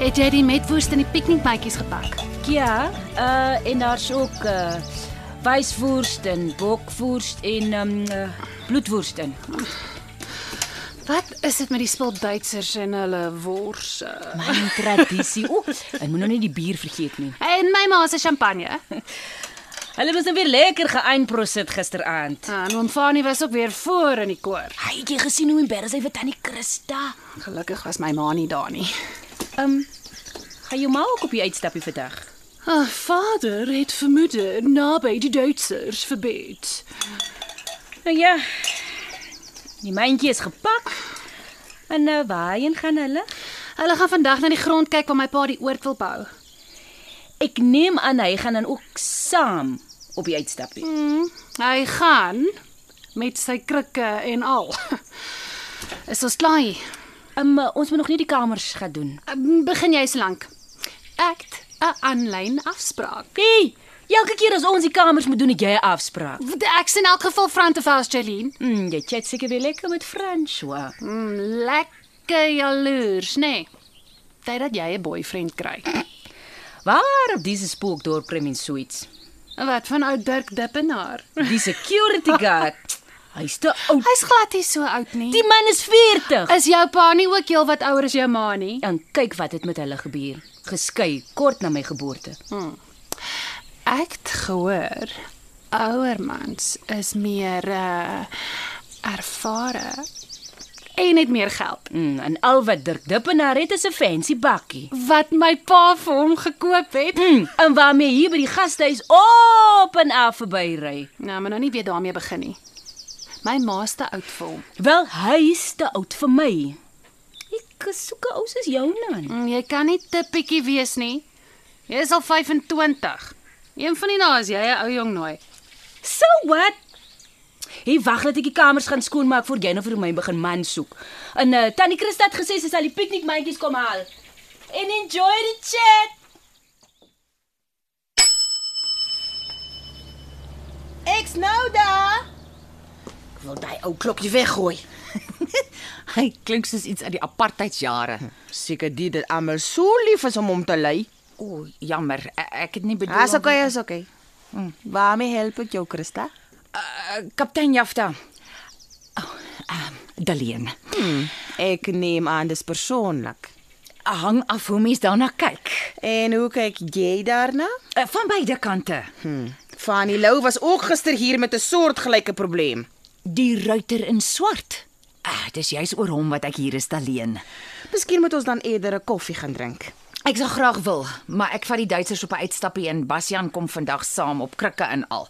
Het jy die metwoest in die piknikmandjies gepak? Ja, uh en daar's ook uh wyswoerst en bokwoerst en um uh, bloedwoerst in. Wat is dit met die spul Duitsers en hulle worse? My tradisie. O, en moet nou nie die bier vergeet nie. En my ma se champagne. Hulle was nou weer lekker geëinprosit gisteraand. En oom Fanie was ook weer voor in die koor. Hy het jy gesien hoe embarrassed hy vir tannie Christa. Gelukkig was my ma nie daar nie. Um gaan jou ma ook op die uitstappie vandag? Ah, vader het vermoede naby die Duitsers verbied. Nou ja. Die mandjie is gepak. En nou waarheen gaan hulle? Hulle gaan vandag na die grond kyk waar my pa die oord wil bou. Ek neem aan hy gaan dan ook saam op die uitstappie. Hy gaan met sy krikke en al. Is ons klaar? hier? Um, ons moet nog nie die kamers gaan doen. Um, Begin jy slank. Ek 'n aanlyn afspraak. Hey, elke keer as ons die kamers moet doen, het jy 'n afspraak. Ek sien in elk geval front of house Jeline. Mm, jy chat seker weer lekker met François. Mm, lekker jaloers, nê? Nee. Tyd dat jy 'n boyfriend kry. Waar op diese spookdorp kry mens so iets? Wat van ou Dirk Dippenaar? Die security guard. Hy's te oud. Hy's glad nie so oud nie. Die man is 40. Is jou pa nie ook heel wat ouer as jou ma nie? En kyk wat het met hulle gebeur. Geskei kort na my geboorte. Ek het gehoor ouer mans is meer uh ervare en het meer geld. Mm, en al wat Dirk Dippenaar het is 'n fancy bakkie. Wat my pa vir hom gekoop het. Mm, en waarmee hier by die gastehuis op en af verbyry. Nou, maar nou nie weer daarmee begin nie. My ma se oud vir hom. Wel, hy's te oud vir my. Ek soek 'n ou soos jou nou. Mm, Jy kan nie te pikkie wees nie. Jy is al 25. Een van die dae is jy 'n ou jong nooi. So what? Hy wag dat ek die kamers gaan skoonmaak voor jy nou vir my begin man soek. En uh, tannie Christa het gesê sy sal die piknikmandjies kom haal. And enjoy the chat. Ek's nou daar. Ek wil daai ou klokkie weggooi. Hy klink soos iets uit die apartheidsjare. Seker die dat almal so lief is om hom te lei. O, jammer. e- Ek het nie bedoel. Dis om- okay, Ah, is okay. Hm. Waarmee help ek jou, Christa? Eh, Kaptein Jafta. Oh, ehm, Daleen. Mm. Ek neem aan dis persoonlik. Hang af hoe mens daarna kyk. En hoe kyk jy daarna? Eh, Van beide kante. Hmm. Fanny Lou was ook gister hier met 'n soortgelyke probleem. Die ruiter in swart. Ah, dis juis oor hom wat ek hier is, Daleen. Miskien moet ons dan eerder 'n koffie gaan drink. Ek sou graag wil, maar ek vat die Duitsers op 'n uitstappie en Bastian kom vandag saam op krikke en al.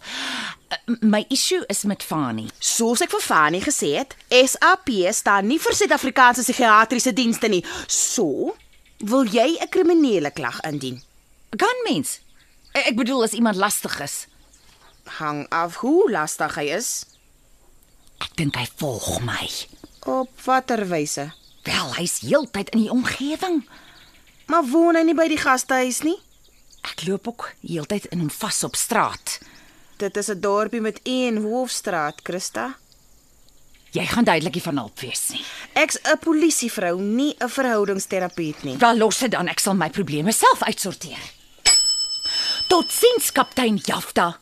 Eh, My issue is met Fani. Soos ek vir Fanny gesê het, SAP staan nie vir Suid-Afrikaanse psigiatriese dienste nie. So, wil jy 'n kriminele klag indien? Kan mens? Eh, Ek bedoel as iemand lastig is. Hang af hoe lastig hy is. Ek dink hy volg my. Op watter wyse? Wel, hy's heeltyd in die omgewing. Maar woon hy nie by die gastehuis nie? Ek loop ook heeltyd in hom vas op straat. Dit is 'n dorpie met een hoofstraat, Christa. Jy gaan duidelik nie van hulp wees nie. Ek's 'n polisievrou, nie 'n verhoudingsterapeut nie. Wel los dit dan, ek sal my probleme self uitsorteer. Totsiens kaptein Jafta.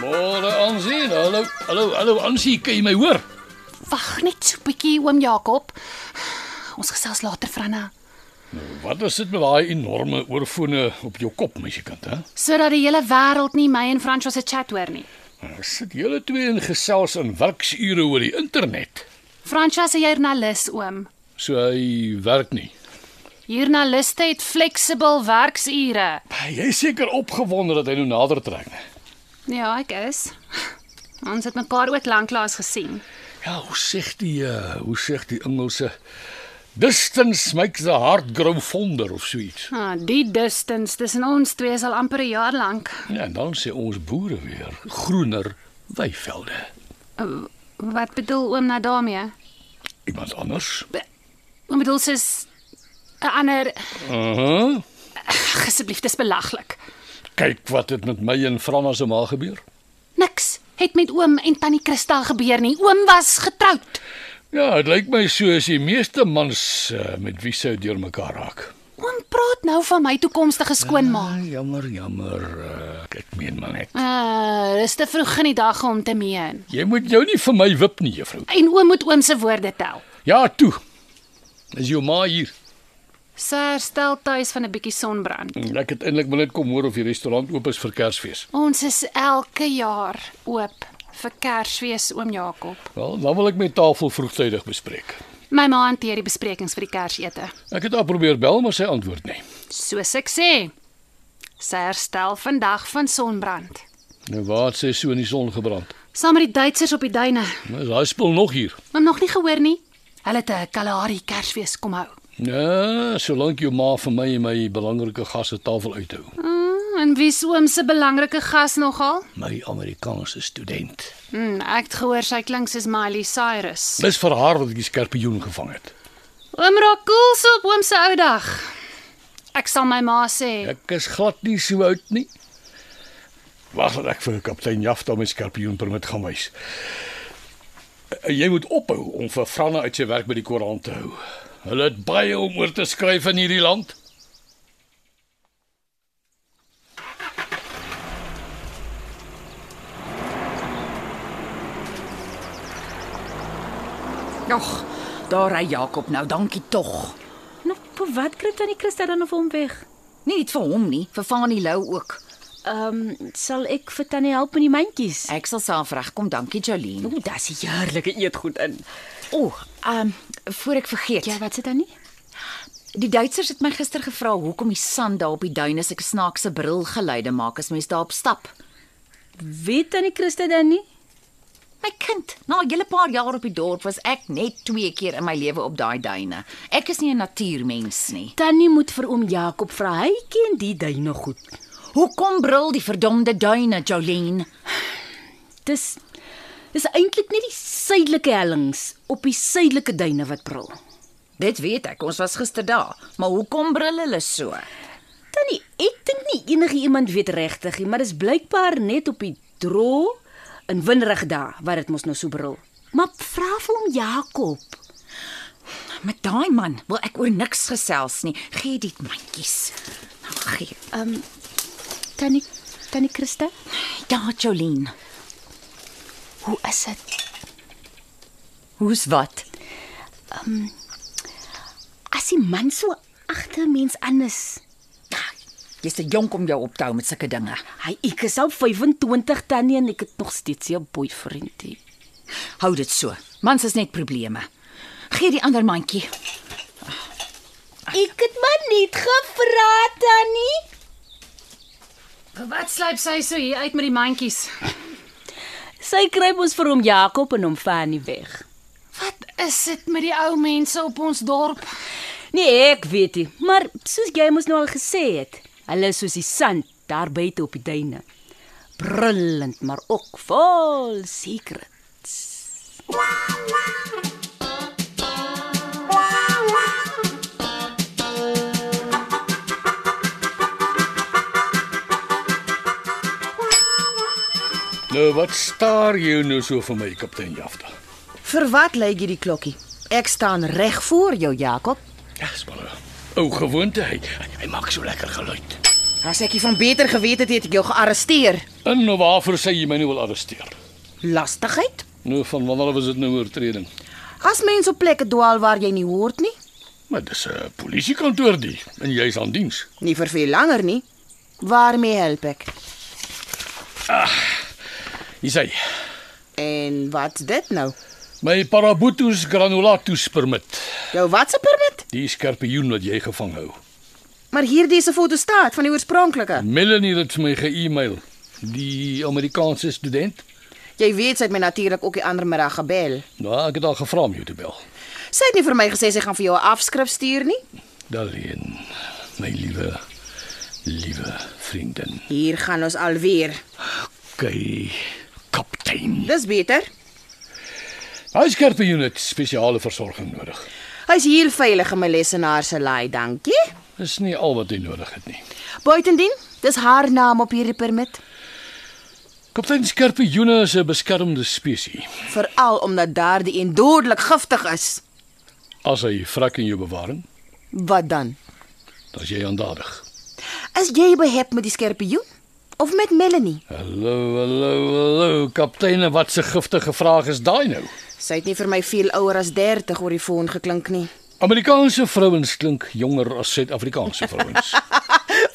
Môre aansien. Hallo, hallo, hallo aansien. Kan jy my hoor? Wag net so 'n bietjie, oom Jakob. Ons gesels later, Franna, Wat is dit met daai enorme oorfone op jou kop, meisiekant, hè? sodat die hele wêreld nie my en François se chat hoor nie. Ek sit julle twee in gesels in werksure oor die internet. Fransja se joernalis oom. So hy werk nie. Joernaliste het fleksibel werksure. Jy is seker opgewonde dat hy nou nader trek. né? Ja, ek is. Ons het mekaar ook lanklaas gesien. Ja, hoe sê die uh, hoe sê die Engelse distance makes the heart grow fonder of so iets. Ah, die distance tussen ons twee is al amper 'n jaar lank. Ja, en dan sê ons boere weer groener weivelde. Wat bedoel oom nou daarmee? Iemand anders? Oom bedoel soos 'n ander Mhm. Uh -huh. Ag, asseblief, dis belaglik. Kyk wat het met my en Franna se ma gebeur. Niks het met oom en tannie Christa gebeur nie. Oom was getroud. Ja, dit lyk my so as die meeste mans uh, met wie sou deurmekaar raak. Oom praat nou van my toekomstige skoonma. Ah, jammer, jammer. Uh, ek meen maar net. Ah, dis te vroeg in die dag om te meen. Jy moet jou nie vir my wip nie, juffrou. En oom moet oom se woorde tel. Ja, toe. Is jou ma hier? Sy herstel tuis van 'n bietjie sonbrand. Hm, Ek het eintlik maar net kom hoor of die restaurant oop is vir Kersfees. Ons is elke jaar oop vir Kersfees, oom Jakob. Wel, dan wil ek my tafel vroegtydig bespreek. My ma hanteer die besprekings vir die Kersete. Ek het haar probeer bel, maar sy antwoord nie. Soos ek sê, sy herstel vandag van sonbrand. Nou waar het sy so in die son gebrand? Saam met die Duitsers op die duine. Nou is daai spul nog hier. Maar nog nie gehoor nie. Hulle het 'n Kalahari Kersfees kom hou. Ja, solank jou ma vir my en my belangrike gas se tafel uithou. Mm, en wie se oom se belangrike gas nogal? My Amerikaanse student. Mm, ek het gehoor sy klink soos Miley Cyrus. Dis vir haar wat ek die skorpioen gevang het. Oom raak koel so op oom se ou dag. Ek sal my ma sê. Ek is glad nie so oud nie. Wag dat ek vir kaptein Jafta my skorpioenpermit gaan wys. Eh, Jy moet ophou om vir Franna uit sy werk by die koerant te hou. Hulle het baie om oor te skryf in hierdie land. Nog, daar ry Jakob nou. Dankie tog. Nou, vir wat kry tannie Christa dan of hom weg? Nie net vir hom nie, vir Fanie Lou ook. Ehm, um, sal ek vir tannie help met die mandjies? Ek sal self regkom. Dankie Jolene. O, dis 'n heerlike eetgoed in. O, oh, ehm um, voor ek vergeet. Ja, wat sit dan nie? Die Duitsers het my gister gevra hoekom die sand daar op die duine sulke snaakse brilgeluide maak as mens daarop stap. Weet tannie Christa dan nie? My kind, na 'n hele paar jaar op die dorp was ek net twee keer in my lewe op daai duine. Ek is nie 'n natuurmens nie. Tannie moet vir oom Jakob vra. Hy ken die duine goed. Hoekom brul die verdomde duine, Jolene? Dis dis eintlik net die suidelike hellings op die suidelike duine wat brul. Dit weet ek, ons was gister daar, maar hoekom brul hulle so? Tannie, ek dink nie enige iemand weet regtig nie, maar dis blykbaar net op die droë en winderige dae wat dit mos nou so brul. Maar vra vir hom Jakob. Met daai man wil ek oor niks gesels nie. Gee dit mandjies. Nou gee. Tannie, tannie Christa, Ja, Jolene. hoe is dit? Hoe's wat? As die man so agter 'n mens anders. Jy's te jonk om jou op te hou met sulke dinge. Hy ek is al 25 tannie en ek het nog steeds nie 'n boyfriend nie. Hou dit so. Mans is net probleme. Gee die ander mandjie. Ek het maar net gevra tannie. Wat slyp sy so hier uit met die mandjies? Sy kry ons vir hom Jakob en hom Fanny weg. Wat is dit met die ou mense op ons dorp? Nee, ek weet nie, maar soos jy mos nou al gesê het, hulle is soos die sand daar buite op die duine. Brullend, maar ook vol secret. Nou wat staar jy nou so vir my kaptein Jafta? Vir wat lei jy die klokkie? Ek staan reg voor jou, Jakob. Ja, spalle. Ou gewoonte, hy, hy maak so lekker geluid. As ek jy van beter geweet het, het ek jou gearresteer. En nou waarvoor sê jy my nou wil arresteer? Lastigheid? Nou van wanneer was dit nou 'n oortreding? As mense op plekke dwaal waar jy nie hoort nie, Maar dis 'n polisiekantoor die en jy's aan diens. nie vir veel langer nie, waarmee help ek? Hier sê hy. En wat's dit nou? My Parabutus granulatus permit, Jou watse permit? die skorpioen wat jy gevang hou. Maar hier dese foto staat van die oorspronklike. Melanie het vir my ge-e-mail. Die Amerikaanse student. Jy weet sy het my natuurlik ook die ander middag gebel. Nou, ek het haar gevra om jou te bel. Sy het nie vir my gesê sy gaan vir jou 'n afskrif stuur nie. Darlene, my liewe liewe vriendin. Hier gaan ons alweer. Okay, kaptein. Dis beter. Hy skorpioen het spesiale versorging nodig. Hy's heel veilig in my lesenaar se laai, dankie. Dis nie al wat hy nodig het nie. Buitendien, dis haar naam op hierdie permit, Kaptein skorpioene is 'n beskermde spesies. veral omdat daardie een dodelik giftig is. As hy vrak in jou bewaring, Wat dan? dan is jy aandadig. Is jy behep met die skerpioen of met Melanie? Hallo, hallo, hallo, kaptein, wat 'n giftige vraag is daai nou? Sy het nie vir my veel ouer as 30 oor die foon geklink nie. Amerikaanse vrouens klink jonger as Suid-Afrikaanse vrouens.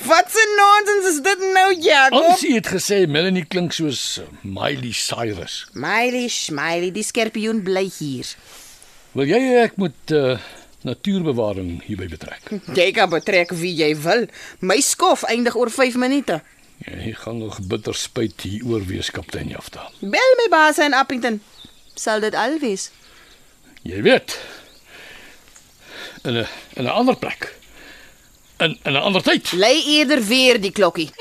Wat 'n nonsens is dit nou, Jakob? Ansie het gesê Melanie klink soos eh, Miley Cyrus. Miley, Smiley, die skerpioen bly hier. Wil jy ek moet uh, natuurbewaring hierby betrek? Jy kan betrek wie jy wil. My skof eindig oor 5 minute. Jy gaan nog bitter spyt hieroor wees, kaptein Jafta. Bel my baas in Appington. Sal dit al wees? Jy weet. In 'n in 'n ander plek. In in 'n ander tyd. Lei eerder weer die klokkie.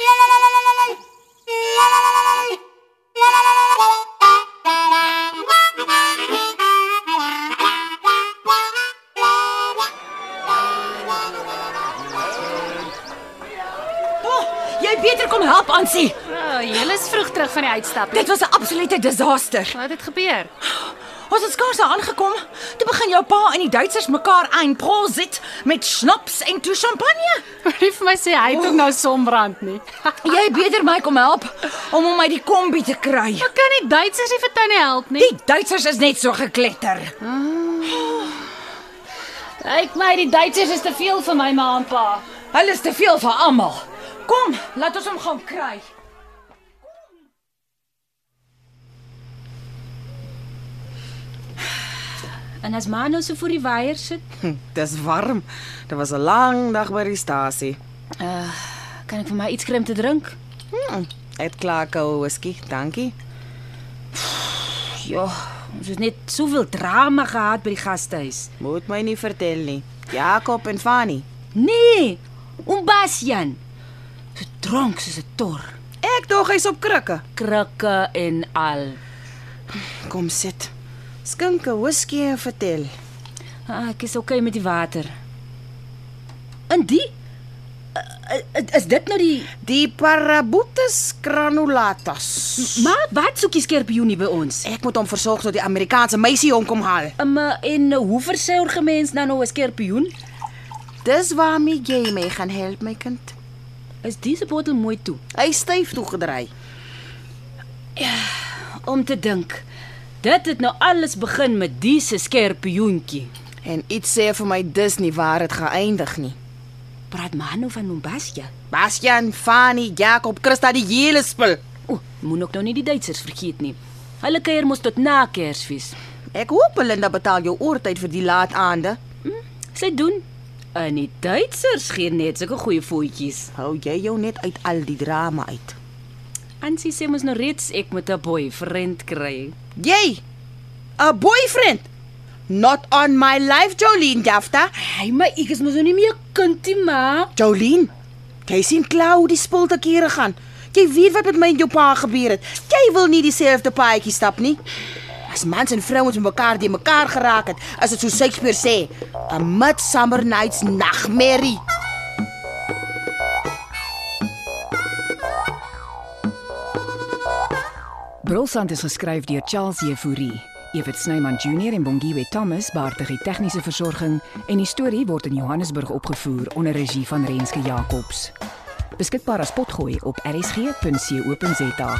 Jy beter kom help Ansie. Oh, Julle is vroeg terug van die uitstap. Dit was 'n absolute disaster. Wat het gebeur? Ons het skaars daar aangekom, toe begin jou pa en die Duitsers mekaar aan prosit met snaps en toe champagne. Moenie vir my sê hy het ook nou sombrand nie. Jy beter my kom help om hom uit die kombi te kry. Ek kan nie Duitsers nie vir tannie help nie. Die Duitsers is net so gekletter. Ah. Lyk my die Duitsers is te veel vir my ma en pa. Hulle is te veel vir almal. Kom, laat ons hom gaan kry. En as ma nou so voor die weier sit, Dis warm. Dit was 'n lang dag by die stasie. kan ek vir my iets kry om te drink? Hm, het klaar koue whisky, dankie. Ja, ons het net soveel drama gehad by die gastehuis. Moet my nie vertel nie. Jakob en Fanny. Nee, om Basjan. So dronk soos 'n tor, Ek dog hy's op krikke. krikke en al. Kom sit. Skink 'n whisky en vertel. Ah, ek is okay met die water. En die uh, uh, is dit nou die Die Parabutus granulatus. maar wat soek die skorpioen hier by ons? Ek moet hom versorg tot die Amerikaanse meisie hom kom haal. Um, en uh, hoe versorg 'n mens nou nou 'n skorpioen? Dis waarmee jy my gaan help, my kind. Is diese bottel mooi toe Hy is styf toegedry. om te dink. Dit het nou alles begin met diese skorpioentjie. En iets sê vir my dis nie waar dit gaan eindig nie. Praat maar nou van Mombasja. Bastian, Fanny, Jakob, Christa die hele spul. O, moet ook nou nie die Duitsers vergeet nie. Hulle kuier mos tot na Kersfees. Ek hoop Belinda betaal jou oortyd vir die laat aande. Sy doen. En die Duitsers gee net sulke goeie voetjies. Hou jy jou net uit al die drama uit. Ansie sê mos nou reeds ek moet 'n boyfriend kry. Jy 'n boyfriend. Not on my life, Jolene Jafta. Hy my ek is mos nou nie meer 'n kindie maar. Jolene, jy sien klaar hoe die spul te kere gaan. Jy weet wat met my en jou pa gebeur het. Jy wil nie dieselfde paadjie stap nie. As mans en vrouens met mekaar die mekaar geraak het, as dit so Shakespeare sê, 'n midsummer night's nagmerrie. Brolsand is geskryf deur Charles Jefouri. Evit Snyman Junior en Bongwe Thomas baartig die tegniese versorging en die storie word in Johannesburg opgevoer onder regie van Renske Jacobs. Beskikbaar as potgooi op rsg.co.za.